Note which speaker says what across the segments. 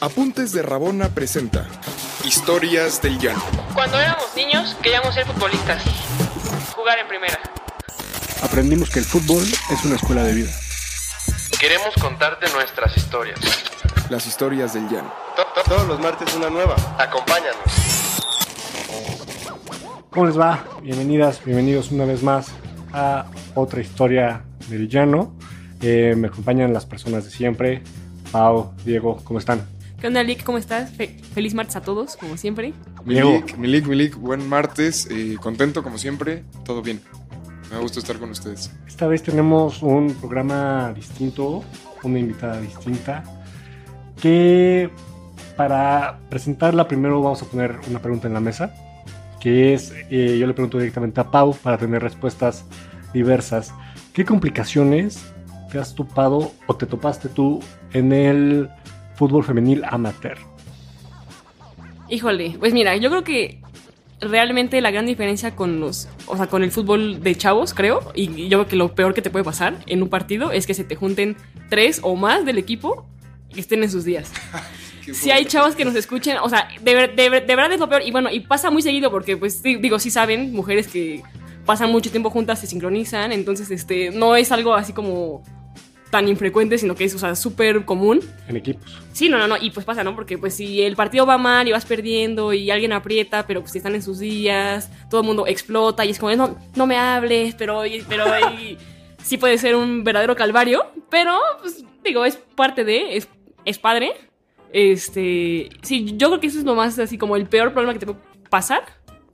Speaker 1: Apuntes de Rabona presenta Historias del Llano.
Speaker 2: Cuando éramos niños queríamos ser futbolistas, jugar en primera.
Speaker 3: Aprendimos que el fútbol es una escuela de vida.
Speaker 4: Queremos contarte nuestras historias.
Speaker 1: Las historias del Llano.
Speaker 4: To- to- Todos los martes una nueva. Acompáñanos.
Speaker 3: ¿Cómo les va? Bienvenidas, bienvenidos una vez más a otra historia del llano. Eh, me acompañan las personas de siempre. Pau, Diego, ¿cómo están?
Speaker 5: ¿Qué onda, Lick? ¿Cómo estás? Fe- feliz martes a todos, como siempre.
Speaker 1: Milik, Milik, Milik, buen martes. eh, contento como siempre. Todo bien. Me da gusto estar con ustedes.
Speaker 3: Esta vez tenemos un programa distinto, una invitada distinta, que para presentarla primero vamos a poner una pregunta en la mesa, que es, eh, yo le pregunto directamente a Pau para tener respuestas diversas. ¿Qué complicaciones te has topado o te topaste tú en el fútbol femenil amateur?
Speaker 5: Híjole, pues mira, yo creo que realmente la gran diferencia con los, o sea, con el fútbol de chavos, creo, y y yo creo que lo peor que te puede pasar en un partido es que se te junten tres o más del equipo que estén en sus días. Si hay chavos que nos escuchen, o sea, de, ver- de ver- de verdad es lo peor. Y bueno, y pasa muy seguido porque, pues, sí, digo, sí saben, mujeres que pasan mucho tiempo juntas se sincronizan, entonces, este, no es algo así como tan infrecuente, sino que es, o sea, súper común.
Speaker 3: En equipos.
Speaker 5: Sí, no, no, no, y pues pasa, ¿no? Porque pues si el partido va mal y vas perdiendo y alguien aprieta, pero pues si están en sus días, todo el mundo explota y es como, no, no me hables, pero, y- pero y- sí puede ser un verdadero calvario, pero pues digo, es parte de, es, es padre. Este, sí, yo creo que eso es lo más así como el peor problema que te puede pasar,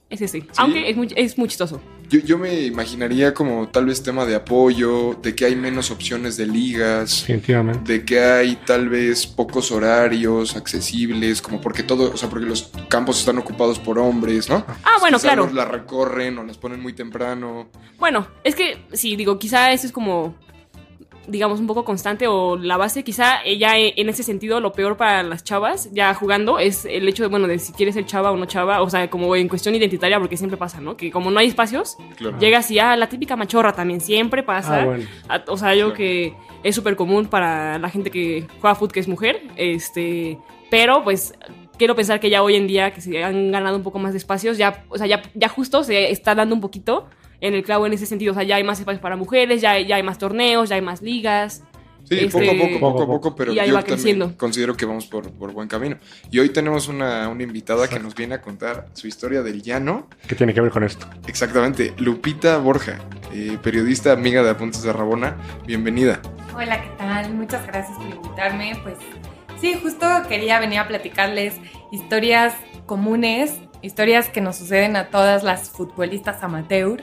Speaker 5: es ese, aunque es muy, es muy chistoso.
Speaker 1: Yo, yo me imaginaría como tal vez tema de apoyo, de que hay menos opciones de ligas.
Speaker 3: Definitivamente.
Speaker 1: de que hay tal vez pocos horarios accesibles, como porque todo, o sea, porque los campos están ocupados por hombres, ¿no?
Speaker 5: Ah, bueno,
Speaker 1: Quizá
Speaker 5: claro.
Speaker 1: los La recorren o las ponen muy temprano.
Speaker 5: Bueno, es que sí, digo, quizá eso es como, digamos, un poco constante o la base. Quizá ella eh, en ese sentido lo peor para las chavas ya jugando es el hecho de, bueno, de si quieres ser chava o no chava, o sea, como en cuestión identitaria, porque siempre pasa, ¿no? Que como no hay espacios,
Speaker 1: Claro.
Speaker 5: llegas y ah, la típica machorra también siempre pasa.
Speaker 3: Ah, bueno.
Speaker 5: A- O sea, yo
Speaker 1: Claro.
Speaker 5: que es súper común para la gente que juega fútbol, que es mujer. Este, pero pues quiero pensar que ya hoy en día que se han ganado un poco más de espacios, ya, o sea, ya, ya justo se está dando un poquito en el clavo en ese sentido. O sea, ya hay más espacios para mujeres, ya, ya hay más torneos, ya hay más ligas.
Speaker 1: Sí,
Speaker 5: Este-
Speaker 1: poco a poco, poco a poco, pero
Speaker 5: Y ahí
Speaker 1: yo
Speaker 5: va
Speaker 1: también
Speaker 5: creciendo.
Speaker 1: considero que vamos por, por buen camino. Y hoy tenemos una, una invitada que nos viene a contar su historia del llano.
Speaker 3: ¿Qué tiene que ver con esto?
Speaker 1: Exactamente, Lupita Borja, eh, periodista amiga de Apuntes de Rabona. Bienvenida.
Speaker 6: Hola, ¿qué tal? Muchas gracias por invitarme. Pues sí, justo quería venir a platicarles historias comunes, historias que nos suceden a todas las futbolistas amateur,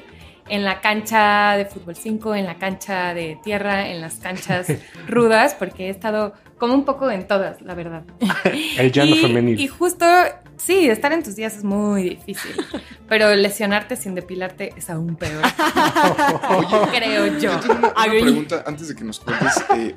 Speaker 6: en la cancha de fútbol 5, en la cancha de tierra, en las canchas rudas, porque he estado como un poco en todas, la verdad.
Speaker 3: El llano
Speaker 6: y,
Speaker 3: femenil.
Speaker 6: Y justo, sí, estar en tus días es muy difícil, pero lesionarte sin depilarte es aún peor, creo yo.
Speaker 1: Yo tengo una, una
Speaker 5: Agree.
Speaker 1: pregunta antes de que nos cuentes. eh,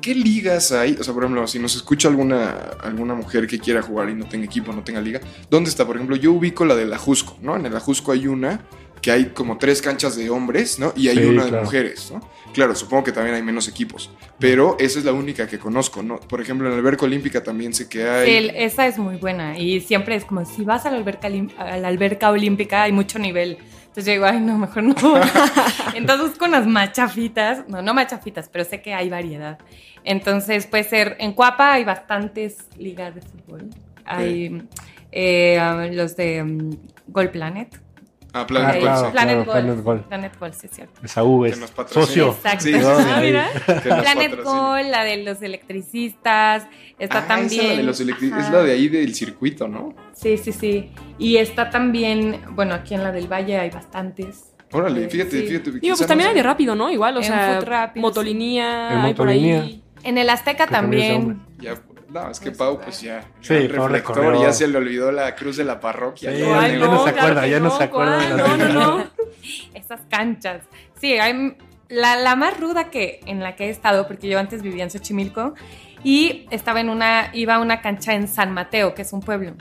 Speaker 1: ¿Qué ligas hay? O sea, por ejemplo, si nos escucha alguna, alguna mujer que quiera jugar y no tenga equipo, no tenga liga, ¿dónde está? Por ejemplo, yo ubico la del Ajusco, ¿no? En el Ajusco hay una que hay como tres canchas de hombres, ¿no? Y hay
Speaker 3: Sí,
Speaker 1: una de
Speaker 3: claro.
Speaker 1: mujeres, ¿no? Claro, supongo que también hay menos equipos, pero esa es la única que conozco, ¿no? Por ejemplo, en la alberca olímpica también sé que hay...
Speaker 6: El- esa es muy buena y siempre es como si vas a la alberca, olim- a la alberca olímpica hay mucho nivel. Entonces yo digo, ay, no, mejor no. Entonces con las machafitas, no, no machafitas, pero sé que hay variedad. Entonces puede ser, en Cuapa hay bastantes ligas de fútbol. Hay eh, los de mm, Gold Planet.
Speaker 1: Ah, Planet
Speaker 3: Ah,
Speaker 1: Golf,
Speaker 3: claro.
Speaker 1: sí.
Speaker 6: Planet, Gold,
Speaker 3: Planet Gold.
Speaker 6: Planet Gold, sí, es cierto.
Speaker 3: Esaú
Speaker 1: Que
Speaker 3: es
Speaker 1: nos patrocina.
Speaker 3: socio.
Speaker 6: Exacto.
Speaker 1: Sí, sí, sí.
Speaker 3: Perdón,
Speaker 5: Ah,
Speaker 3: ahí.
Speaker 5: mira.
Speaker 1: Que nos
Speaker 6: Planet
Speaker 1: patrocina.
Speaker 6: Gold, la de los electricistas, está
Speaker 1: Ah,
Speaker 6: también.
Speaker 1: Es la, de los electri- es
Speaker 6: Ajá.
Speaker 1: la de ahí del circuito, ¿no?
Speaker 6: Sí, sí, sí. Y está también, bueno, aquí en la del Valle hay bastantes.
Speaker 1: Órale,
Speaker 6: Sí,
Speaker 1: fíjate,
Speaker 6: sí.
Speaker 1: fíjate.
Speaker 5: Digo,
Speaker 1: quizá
Speaker 5: pues también
Speaker 1: no
Speaker 5: hay de rápido, ¿no? Igual, o
Speaker 6: En
Speaker 5: sea,
Speaker 6: foot rápido,
Speaker 5: motolinía,
Speaker 3: En
Speaker 5: hay por
Speaker 3: motolinía.
Speaker 5: ahí.
Speaker 6: En el Azteca
Speaker 3: Que también es de
Speaker 6: también.
Speaker 1: Ya, no, es que Pau, pues ya.
Speaker 3: Sí,
Speaker 1: el
Speaker 3: Pau le
Speaker 1: reflector,
Speaker 3: corrió.
Speaker 1: ya se le olvidó la cruz de la parroquia.
Speaker 3: Sí,
Speaker 1: ya,
Speaker 3: Ay,
Speaker 1: de
Speaker 3: no,
Speaker 1: verdad.
Speaker 3: se acuerda,
Speaker 5: que
Speaker 3: ya no se acuerda
Speaker 6: Ah,
Speaker 3: de
Speaker 5: ¿cuál?
Speaker 3: la
Speaker 5: No, no, no.
Speaker 6: Esas canchas. Sí, hay la, la más ruda que en la que he estado, porque yo antes vivía en Xochimilco y estaba en una, iba a una cancha en San Mateo, que es un pueblo.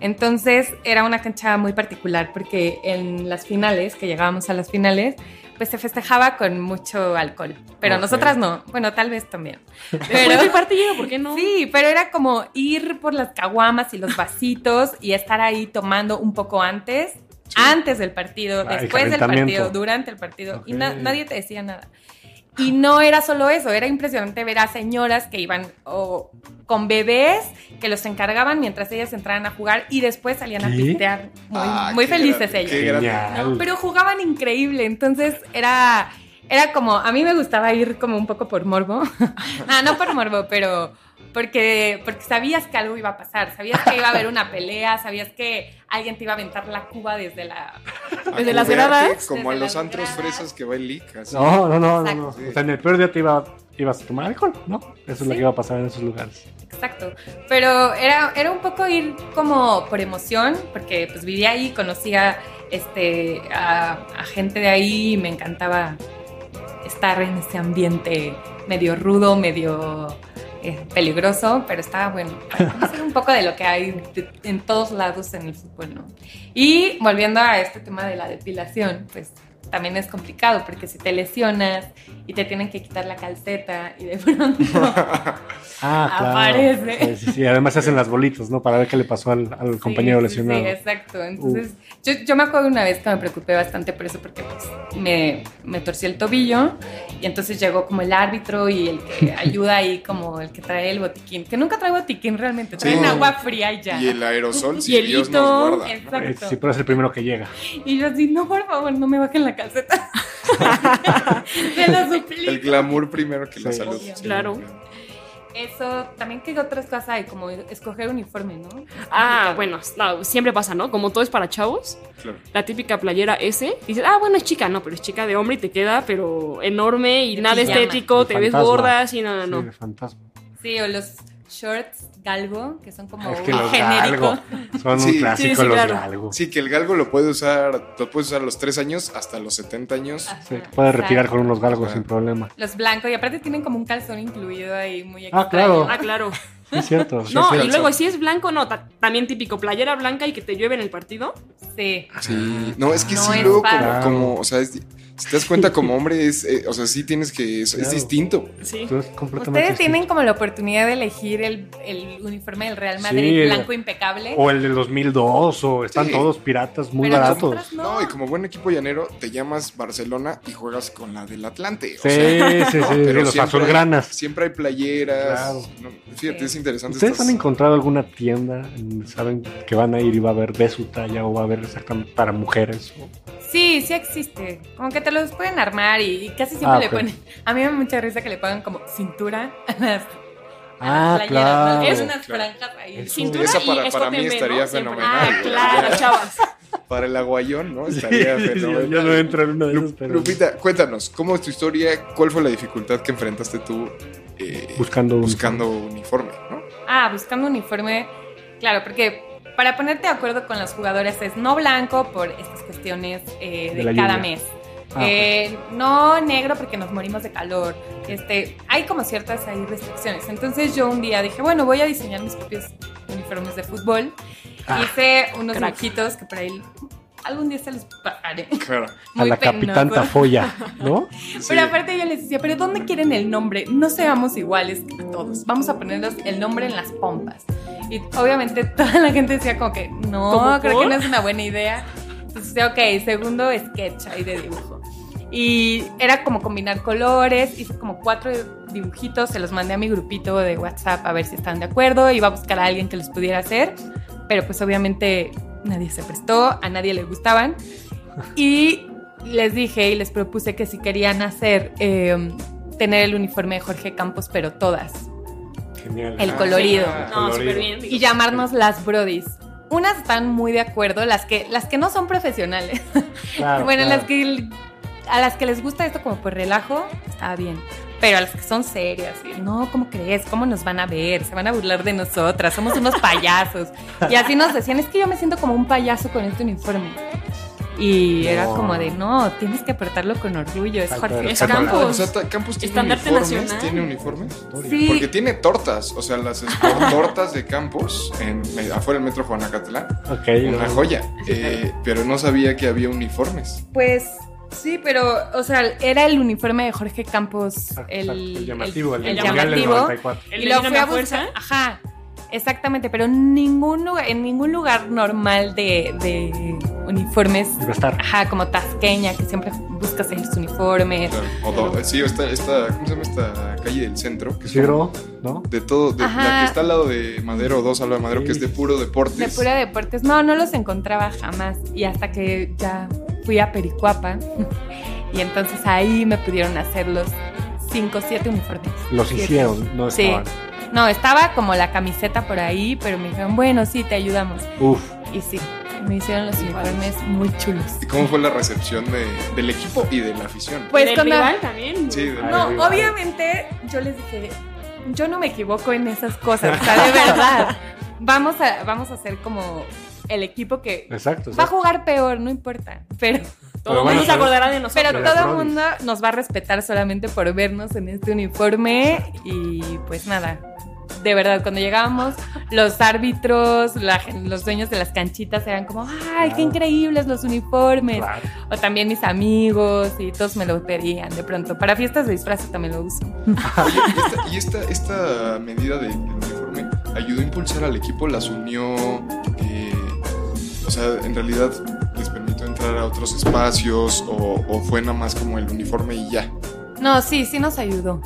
Speaker 6: Entonces era una cancha muy particular porque en las finales, que llegábamos a las finales, pues se festejaba con mucho alcohol. Pero
Speaker 3: Ok.
Speaker 6: nosotras no. Bueno, tal vez también.
Speaker 5: Pero
Speaker 6: Pero,
Speaker 5: de parte llega, ¿por qué no?
Speaker 6: Sí, pero era como ir por las caguamas y los vasitos y estar ahí tomando un poco antes, antes del partido,
Speaker 3: Ah, el
Speaker 6: después del
Speaker 3: calentamiento.
Speaker 6: partido, durante el partido. Y na-
Speaker 3: Ok.
Speaker 6: nadie te decía nada. Y no era solo eso, era impresionante ver a señoras que iban o con bebés que los encargaban mientras ellas entraban a jugar y después salían a
Speaker 3: ¿Qué?
Speaker 6: pistear. Muy,
Speaker 1: Ah,
Speaker 6: muy
Speaker 1: qué
Speaker 6: felices
Speaker 1: gra-
Speaker 6: ellas.
Speaker 1: qué grande.
Speaker 3: Genial.
Speaker 6: Pero jugaban increíble, entonces era, era como, a mí me gustaba ir como un poco por morbo. ah, no por morbo, pero porque, porque sabías que algo iba a pasar, sabías que iba a haber una pelea, sabías que alguien te iba a aventar la cuba desde la...
Speaker 5: Desde las
Speaker 1: Acuérdate,
Speaker 5: gradas.
Speaker 1: Como a
Speaker 6: Desde
Speaker 1: los
Speaker 6: las
Speaker 1: antros
Speaker 6: gradas.
Speaker 1: fresas que va el leak. así.
Speaker 3: No, no, no, no, no.
Speaker 6: Exacto.
Speaker 3: O sea, en el peor día te iba, ibas a tomar alcohol, ¿no? Eso es lo
Speaker 6: Sí.
Speaker 3: que iba a pasar en esos lugares.
Speaker 6: Exacto, pero era, era un poco ir como por emoción, porque pues vivía ahí, conocía este, a, a gente de ahí y me encantaba estar en ese ambiente medio rudo, medio eh, peligroso, pero estaba bueno. para conocer un poco de lo que hay de- en todos lados en el fútbol, ¿no? Y volviendo a este tema de la depilación, pues también es complicado porque si te lesionas y te tienen que quitar la calceta y de pronto
Speaker 3: Ah, claro.
Speaker 6: Aparece.
Speaker 3: Sí, sí, sí. Además se hacen las bolitas, ¿no? Para ver qué le pasó al, al compañero
Speaker 6: Sí, sí,
Speaker 3: lesionado. Uh.
Speaker 6: Sí, exacto. Entonces, yo, yo me acuerdo una vez que me preocupé bastante por eso porque pues, me, me torcí el tobillo y entonces llegó como el árbitro y el que ayuda ahí, como el que trae el botiquín, que nunca trae botiquín realmente, traen
Speaker 1: Sí.
Speaker 6: agua fría y ya.
Speaker 1: Y el aerosol, si
Speaker 5: Hielito,
Speaker 1: Dios nos guarda. ¿no?
Speaker 6: Exacto.
Speaker 3: Eh, Sí, pero es el primero que llega.
Speaker 6: Y yo así, no, por favor, no me bajen la calceta. Te lo suplico.
Speaker 1: El glamour primero que la
Speaker 3: Sí.
Speaker 1: salud.
Speaker 6: Obvio.
Speaker 1: Sí,
Speaker 5: Claro.
Speaker 6: Eso, también que otras cosas hay, como escoger uniforme, ¿no?
Speaker 5: Ah, bueno, no, siempre pasa, ¿no? Como todo es para chavos,
Speaker 1: claro.
Speaker 5: la típica playera S, dices, ah, bueno, es chica, no, pero es chica de hombre y te queda, pero enorme y
Speaker 6: De
Speaker 5: nada
Speaker 6: pijama.
Speaker 5: estético, te
Speaker 3: De
Speaker 5: ves
Speaker 3: fantasma.
Speaker 5: gorda, sí, no, no,
Speaker 3: Sí,
Speaker 5: no.
Speaker 3: de fantasma.
Speaker 6: Sí, o los shorts galgo, que son como
Speaker 3: Ah, es que
Speaker 6: un
Speaker 3: los
Speaker 6: genérico.
Speaker 3: galgo son
Speaker 1: Sí,
Speaker 3: un clásico
Speaker 5: sí, sí,
Speaker 3: los
Speaker 5: claro.
Speaker 3: galgo.
Speaker 1: Sí, que el galgo lo puede usar, lo puedes usar a los 3 años hasta los 70 años.
Speaker 3: Sí, te puedes retirar con unos galgos
Speaker 1: Claro.
Speaker 3: sin problema.
Speaker 6: Los blancos, y aparte tienen como un calzón incluido ahí, muy
Speaker 3: Ah,
Speaker 6: extraño.
Speaker 3: claro.
Speaker 5: Ah, claro.
Speaker 3: Sí, es cierto. sí,
Speaker 5: No,
Speaker 3: sí.
Speaker 5: y luego si es blanco, no, ta- también típico, playera blanca y que te llueve en el partido.
Speaker 6: Sí.
Speaker 1: Sí, no, es que
Speaker 6: No
Speaker 1: sí,
Speaker 6: es
Speaker 1: luego como,
Speaker 6: padre.
Speaker 1: como, o sea, es di- si te das cuenta como hombre, es, eh, o sea, sí tienes que, es, es
Speaker 3: Claro.
Speaker 1: distinto.
Speaker 5: Sí.
Speaker 3: Tú eres completamente
Speaker 6: Ustedes tienen
Speaker 3: distinto.
Speaker 6: como la oportunidad de elegir el, el uniforme del Real
Speaker 3: Sí.
Speaker 6: Madrid
Speaker 3: Oh.
Speaker 6: blanco impecable.
Speaker 3: O el del 2002, o están
Speaker 1: Sí.
Speaker 3: todos piratas muy
Speaker 6: Pero
Speaker 3: baratos.
Speaker 6: nosotras No.
Speaker 1: No, y como buen equipo llanero, te llamas Barcelona y juegas con la del Atlante. o
Speaker 3: Sí,
Speaker 1: sea,
Speaker 3: sí, sí,
Speaker 1: ¿no?
Speaker 3: sí,
Speaker 1: Pero
Speaker 3: los
Speaker 1: siempre hay-
Speaker 3: azulgranas.
Speaker 1: Siempre hay playeras.
Speaker 3: Claro.
Speaker 1: ¿no? Fíjate,
Speaker 6: Sí.
Speaker 1: es interesante.
Speaker 3: ¿Ustedes
Speaker 1: estas-
Speaker 3: han encontrado alguna tienda en- saben que van a ir y va a haber de su talla o va a haber exactamente para mujeres?
Speaker 6: Sí, sí existe. Como que te los pueden armar y, y casi siempre
Speaker 3: Ah,
Speaker 6: le
Speaker 3: ok.
Speaker 6: ponen. A mí me da mucha risa que le pongan como cintura a las,
Speaker 3: Ah,
Speaker 6: a las playeras. ¿no?
Speaker 3: claro.
Speaker 6: Tienen unas
Speaker 1: claro.
Speaker 6: franjas ahí.
Speaker 3: Eso.
Speaker 5: Cintura
Speaker 1: Esa
Speaker 5: y
Speaker 1: para- para mí
Speaker 5: escote en B,
Speaker 1: estaría
Speaker 5: ¿no? Siempre.
Speaker 1: fenomenal.
Speaker 5: Ah, claro, chavas.
Speaker 1: Para el aguayón, ¿no?
Speaker 3: Sí,
Speaker 1: Estaría
Speaker 3: sí,
Speaker 1: fenomenal.
Speaker 3: yo no entro en una de
Speaker 1: Lu-
Speaker 3: esas, pero
Speaker 1: Lupita, cuéntanos, ¿cómo es tu historia? ¿Cuál fue la dificultad que enfrentaste tú eh,
Speaker 3: buscando un-
Speaker 1: buscando uniforme? ¿no?
Speaker 6: Ah, buscando uniforme. Claro, porque para ponerte de acuerdo con los jugadores es no blanco por estas cuestiones eh,
Speaker 3: De
Speaker 6: de,
Speaker 3: la
Speaker 6: cada
Speaker 3: lluvia.
Speaker 6: mes.
Speaker 3: Ah,
Speaker 6: Eh, No negro porque nos morimos de calor. Este, hay como ciertas ahí restricciones. Entonces yo un día dije, bueno, voy a diseñar mis propios uniformes de fútbol.
Speaker 3: Ah,
Speaker 6: Hice unos
Speaker 5: crack.
Speaker 6: dibujitos que por ahí algún día se los pasaré.
Speaker 1: Claro.
Speaker 3: a
Speaker 6: Muy
Speaker 3: la capitán
Speaker 6: penoso.
Speaker 3: Tafoya, ¿no?
Speaker 6: Pero aparte yo les decía, pero ¿dónde quieren el nombre? No seamos iguales a todos. Vamos a ponernos el nombre en las pompas. Y obviamente toda la gente decía como que, no,
Speaker 5: ¿Cómo
Speaker 6: creo
Speaker 5: por?
Speaker 6: que no es una buena idea. Entonces decía, ok, segundo sketch ahí de dibujo. Y era como combinar colores, hice como cuatro dibujitos, se los mandé a mi grupito de WhatsApp a ver si estaban de acuerdo, iba a buscar a alguien que los pudiera hacer, pero pues obviamente nadie se prestó, a nadie le gustaban. Y les dije y les propuse que si querían hacer, eh, tener el uniforme de Jorge Campos, pero todas,
Speaker 3: Genial.
Speaker 6: El colorido.
Speaker 5: No,
Speaker 3: Colorido.
Speaker 5: súper bien.
Speaker 6: y llamarnos las Brodies. Unas están muy de acuerdo, las que, las que no son profesionales.
Speaker 3: Ah, Claro,
Speaker 6: bueno,
Speaker 3: claro.
Speaker 6: las que a las que les gusta esto como por relajo, está bien. Pero a las que son serias, y, no, ¿cómo crees? ¿Cómo nos van a ver? Se van a burlar de nosotras, somos unos payasos. Y así nos decían, es que yo me siento como un payaso con este uniforme. Y era
Speaker 3: No.
Speaker 6: como de, no, tienes que portarlo con orgullo, es
Speaker 3: Falta de
Speaker 6: Jorge
Speaker 5: respeto.
Speaker 6: Campos.
Speaker 1: O sea, ta- Campos tiene
Speaker 5: Estandarte
Speaker 1: uniformes,
Speaker 5: nacional.
Speaker 1: tiene uniformes.
Speaker 6: Sí.
Speaker 1: Porque tiene tortas, o sea, las espor- tortas de Campos en, me- afuera del metro Juanacatlán,
Speaker 3: Ok,
Speaker 1: una
Speaker 3: no.
Speaker 1: joya. Eh, pero no sabía que había uniformes.
Speaker 6: Pues Sí, pero, o sea, era el uniforme de Jorge Campos, el,
Speaker 3: el llamativo, el,
Speaker 6: el
Speaker 3: mundial del
Speaker 6: llamativo.
Speaker 3: 94.
Speaker 5: El
Speaker 6: y
Speaker 5: de
Speaker 6: lo
Speaker 5: Dínamo
Speaker 6: fui a
Speaker 5: a fuerza.
Speaker 6: buscar. Ajá, exactamente, pero en ningún lugar, en ningún lugar normal de, de uniformes,
Speaker 3: Iba a estar.
Speaker 6: ajá, como tasqueña, que siempre buscas en los uniformes.
Speaker 1: Claro, o do- eh, sí, o esta, esta, ¿cómo se llama esta calle del centro? Que es
Speaker 3: Isidro, ¿no?
Speaker 1: de todo, de- la
Speaker 6: Ajá.
Speaker 1: que está al lado de Madero, dos al lado de Madero, que es de puro deportes.
Speaker 6: De pura deportes. No, no los encontraba jamás. Y hasta que ya fui a Pericuapa. Y entonces ahí me pudieron hacer los 5 7 uniformes.
Speaker 3: Los
Speaker 6: Siete.
Speaker 3: hicieron, no
Speaker 6: Sí.
Speaker 3: estaban.
Speaker 6: No, estaba como la camiseta por ahí, pero me dijeron, bueno, sí, te ayudamos.
Speaker 3: Uf,
Speaker 6: Y sí, me hicieron los uniformes muy chulos.
Speaker 1: ¿Y cómo fue la recepción de- del equipo y de la afición?
Speaker 6: Pues
Speaker 5: Del
Speaker 6: cuando-
Speaker 5: rival también.
Speaker 1: Sí, de-
Speaker 3: Ay,
Speaker 6: No,
Speaker 3: rival.
Speaker 6: obviamente yo les dije, yo no me equivoco en esas cosas, o sea, de verdad. Vamos a, vamos a ser como el equipo que
Speaker 3: exacto.
Speaker 6: va a
Speaker 3: exacto.
Speaker 6: jugar peor, no importa. Pero
Speaker 5: Todo el
Speaker 3: bueno,
Speaker 5: mundo se
Speaker 3: pero-
Speaker 5: acordará de nosotros.
Speaker 6: Pero
Speaker 3: Pero
Speaker 6: todo el
Speaker 3: Brody.
Speaker 6: mundo nos va a respetar solamente por vernos en este uniforme y pues nada. De verdad, cuando llegábamos, los árbitros, la gen- los dueños de las canchitas eran como, ¡ay,
Speaker 3: Claro.
Speaker 6: qué increíbles los uniformes!
Speaker 3: Claro.
Speaker 6: O también mis amigos y todos me lo pedían de pronto. Para fiestas de disfraces también lo uso.
Speaker 1: Oye, y esta, y esta, esta medida de- del uniforme ayudó a impulsar al equipo, las unió, eh, o sea, en realidad les permitió entrar a otros espacios o, o fue nada más como el uniforme y ya.
Speaker 6: No, sí, sí nos ayudó.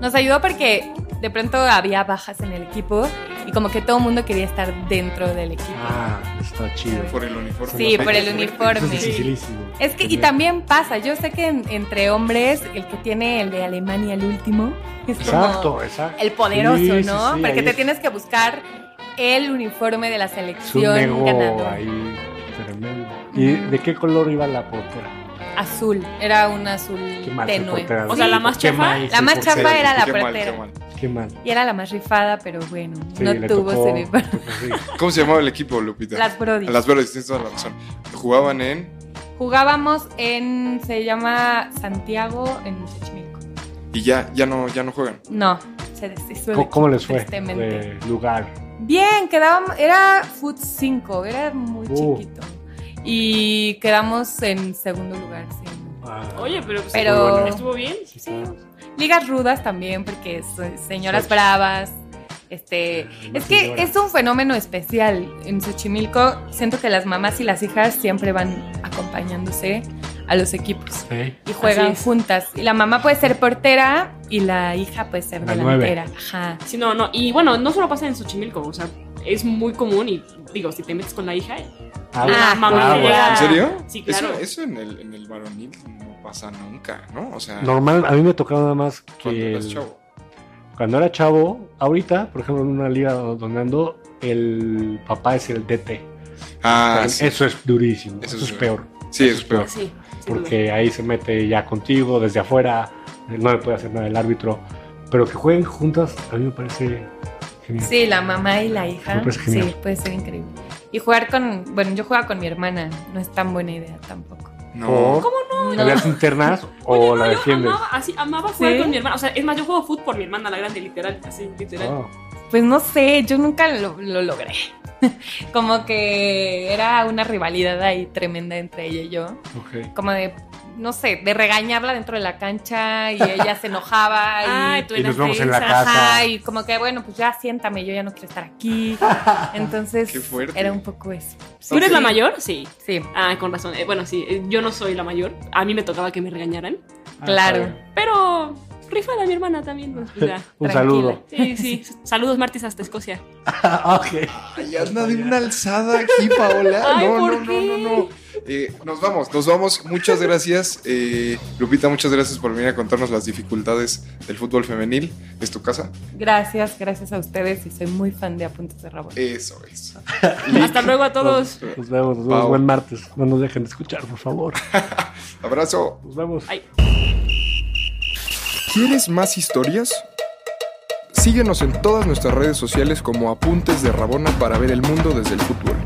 Speaker 6: Nos ayudó porque de pronto había bajas en el equipo y como que todo el mundo quería estar dentro del equipo.
Speaker 3: Ah, está chido.
Speaker 1: Por el uniforme.
Speaker 6: Sí, por el
Speaker 3: Eso es
Speaker 6: uniforme.
Speaker 3: dificilísimo.
Speaker 6: Es que, y
Speaker 3: Tener-
Speaker 6: también pasa, yo sé que en- entre hombres, el que tiene el de Alemania el último, es como
Speaker 3: Exacto, exacto.
Speaker 6: el poderoso,
Speaker 3: Sí, sí,
Speaker 6: ¿no?
Speaker 3: sí,
Speaker 6: Porque
Speaker 3: ahí
Speaker 6: te
Speaker 3: es-
Speaker 6: tienes que buscar el uniforme de la
Speaker 3: Es un
Speaker 6: selección
Speaker 3: ego
Speaker 6: ganador.
Speaker 3: ahí tremendo. ¿Y
Speaker 6: Ujú.
Speaker 3: de qué color iba la portera?
Speaker 6: Azul, era un azul
Speaker 3: Qué mal que
Speaker 6: tenue.
Speaker 3: portera,
Speaker 5: O sea,
Speaker 3: ¿no?
Speaker 5: la más
Speaker 3: Qué
Speaker 5: chafa.
Speaker 3: mal,
Speaker 6: La
Speaker 3: sí,
Speaker 6: más
Speaker 3: por-
Speaker 6: chafa
Speaker 3: sí,
Speaker 6: era la
Speaker 1: Qué mal,
Speaker 6: portera.
Speaker 1: qué mal.
Speaker 3: Qué mal.
Speaker 6: Y era la más rifada, pero bueno,
Speaker 3: Sí,
Speaker 6: no
Speaker 3: le
Speaker 6: tuvo
Speaker 3: tocó- pues,
Speaker 6: semifinal.
Speaker 3: sí.
Speaker 1: ¿Cómo se llamaba el equipo, Lupita?
Speaker 6: Las Brody.
Speaker 1: A Las Verdes, tienes toda la razón. Jugaban en.
Speaker 6: Jugábamos en, se llama Santiago en Xochimilco.
Speaker 1: Y ya, ya no, ya no juegan.
Speaker 6: No, se deshizo el
Speaker 3: ¿Cómo, cómo les fue?
Speaker 6: Tristemente.
Speaker 3: De lugar.
Speaker 6: Bien, quedábamos, era Food 5, era muy
Speaker 3: Uh.
Speaker 6: chiquito. Y quedamos en segundo lugar, sí.
Speaker 3: Ah,
Speaker 5: Oye, pero, pues,
Speaker 6: Pero-
Speaker 5: estuvo bien.
Speaker 3: sí, claro.
Speaker 6: Ligas rudas también, porque so- señoras
Speaker 3: Soch.
Speaker 6: bravas. Este,
Speaker 3: Una
Speaker 6: es que
Speaker 3: señora.
Speaker 6: es un fenómeno especial en Xochimilco. Siento que las mamás y las hijas siempre van acompañándose a los equipos
Speaker 3: Sí.
Speaker 6: y juegan
Speaker 5: es.
Speaker 6: juntas. Y la mamá puede ser portera y la hija puede ser
Speaker 3: La nueve.
Speaker 6: delantera. Ajá.
Speaker 5: Sí, no, no. Y bueno, no solo pasa en Xochimilco, o sea, es muy común y digo, si te metes con la hija,
Speaker 3: Ah,
Speaker 5: la mamá
Speaker 3: ah,
Speaker 5: le
Speaker 3: bueno.
Speaker 5: llega-
Speaker 1: ¿En serio?
Speaker 5: Sí, claro.
Speaker 1: Eso, eso en, el, en el varonil no pasa nunca, ¿no? O sea,
Speaker 3: Normal, a mí me tocaba nada más que
Speaker 1: cuando eras
Speaker 3: el-
Speaker 1: chavo.
Speaker 3: cuando era chavo, ahorita, por ejemplo, en una liga donde ando, el papá es el DT.
Speaker 1: Ah,
Speaker 3: Pero
Speaker 1: sí,
Speaker 3: Eso es durísimo,
Speaker 1: Eso
Speaker 3: eso,
Speaker 1: es
Speaker 3: es peor,
Speaker 1: sí, eso es
Speaker 3: Ah,
Speaker 1: peor.
Speaker 5: sí. sin duda.
Speaker 3: porque ahí se mete ya contigo, desde afuera, no le puede hacer nada el árbitro, pero que jueguen juntas a mí me parece genial.
Speaker 6: Sí, la mamá y la
Speaker 3: Me
Speaker 6: hija.
Speaker 3: parece genial.
Speaker 6: Sí, puede ser increíble. Y jugar con, bueno, yo jugaba con mi hermana, no es tan buena idea tampoco.
Speaker 1: No.
Speaker 3: no? ¿Peleas internas o
Speaker 5: Oye, no,
Speaker 3: la
Speaker 5: yo
Speaker 3: defiendes?
Speaker 5: amaba, así, amaba jugar
Speaker 6: ¿Sí?
Speaker 5: con mi hermana. O sea, es más, yo juego fútbol por mi hermana, la grande, literal, así, literal.
Speaker 3: Wow.
Speaker 6: Pues no sé, yo nunca lo, lo logré. Como que era una rivalidad ahí tremenda entre ella y yo.
Speaker 3: Ok.
Speaker 6: Como de, no sé, de regañarla dentro de la cancha y ella se enojaba. Y,
Speaker 5: Ay, tú
Speaker 3: Y nos
Speaker 5: eras
Speaker 3: vemos en la
Speaker 5: esa.
Speaker 3: casa.
Speaker 6: Ajá, y como que, bueno, pues ya siéntame, yo ya no quiero estar aquí. Entonces,
Speaker 1: Qué fuerte.
Speaker 6: era un poco eso.
Speaker 5: ¿Tú eres la mayor? Sí.
Speaker 6: Sí,
Speaker 5: Ah, con razón. Eh, bueno, sí, eh, yo no soy la mayor. A mí me tocaba que me regañaran.
Speaker 3: Ah,
Speaker 6: claro.
Speaker 3: está bien.
Speaker 5: Pero rifada mi hermana también. pues, ya.
Speaker 3: Un
Speaker 6: Tranquila.
Speaker 3: saludo.
Speaker 5: Sí, sí. Saludos, Martis, hasta Escocia.
Speaker 3: Ah, ok.
Speaker 1: Ay, anda de una alzada aquí, Paola.
Speaker 5: Ay,
Speaker 1: no,
Speaker 5: ¿por
Speaker 1: no, no,
Speaker 5: qué?
Speaker 1: no, no. Eh, nos vamos, nos vamos. Muchas gracias. eh, Lupita, muchas gracias por venir a contarnos las dificultades del fútbol femenil. ¿Es tu casa?
Speaker 6: Gracias, gracias a ustedes y soy muy fan de Apuntes de Rabón.
Speaker 1: Eso es.
Speaker 5: Hasta luego a todos.
Speaker 3: Nos vemos, nos vemos.
Speaker 1: Pau.
Speaker 3: Buen martes. No nos dejen de escuchar, por favor.
Speaker 1: Abrazo.
Speaker 3: Nos vemos.
Speaker 5: Ay.
Speaker 1: ¿Quieres más historias? Síguenos en todas nuestras redes sociales como Apuntes de Rabona para ver el mundo desde el fútbol.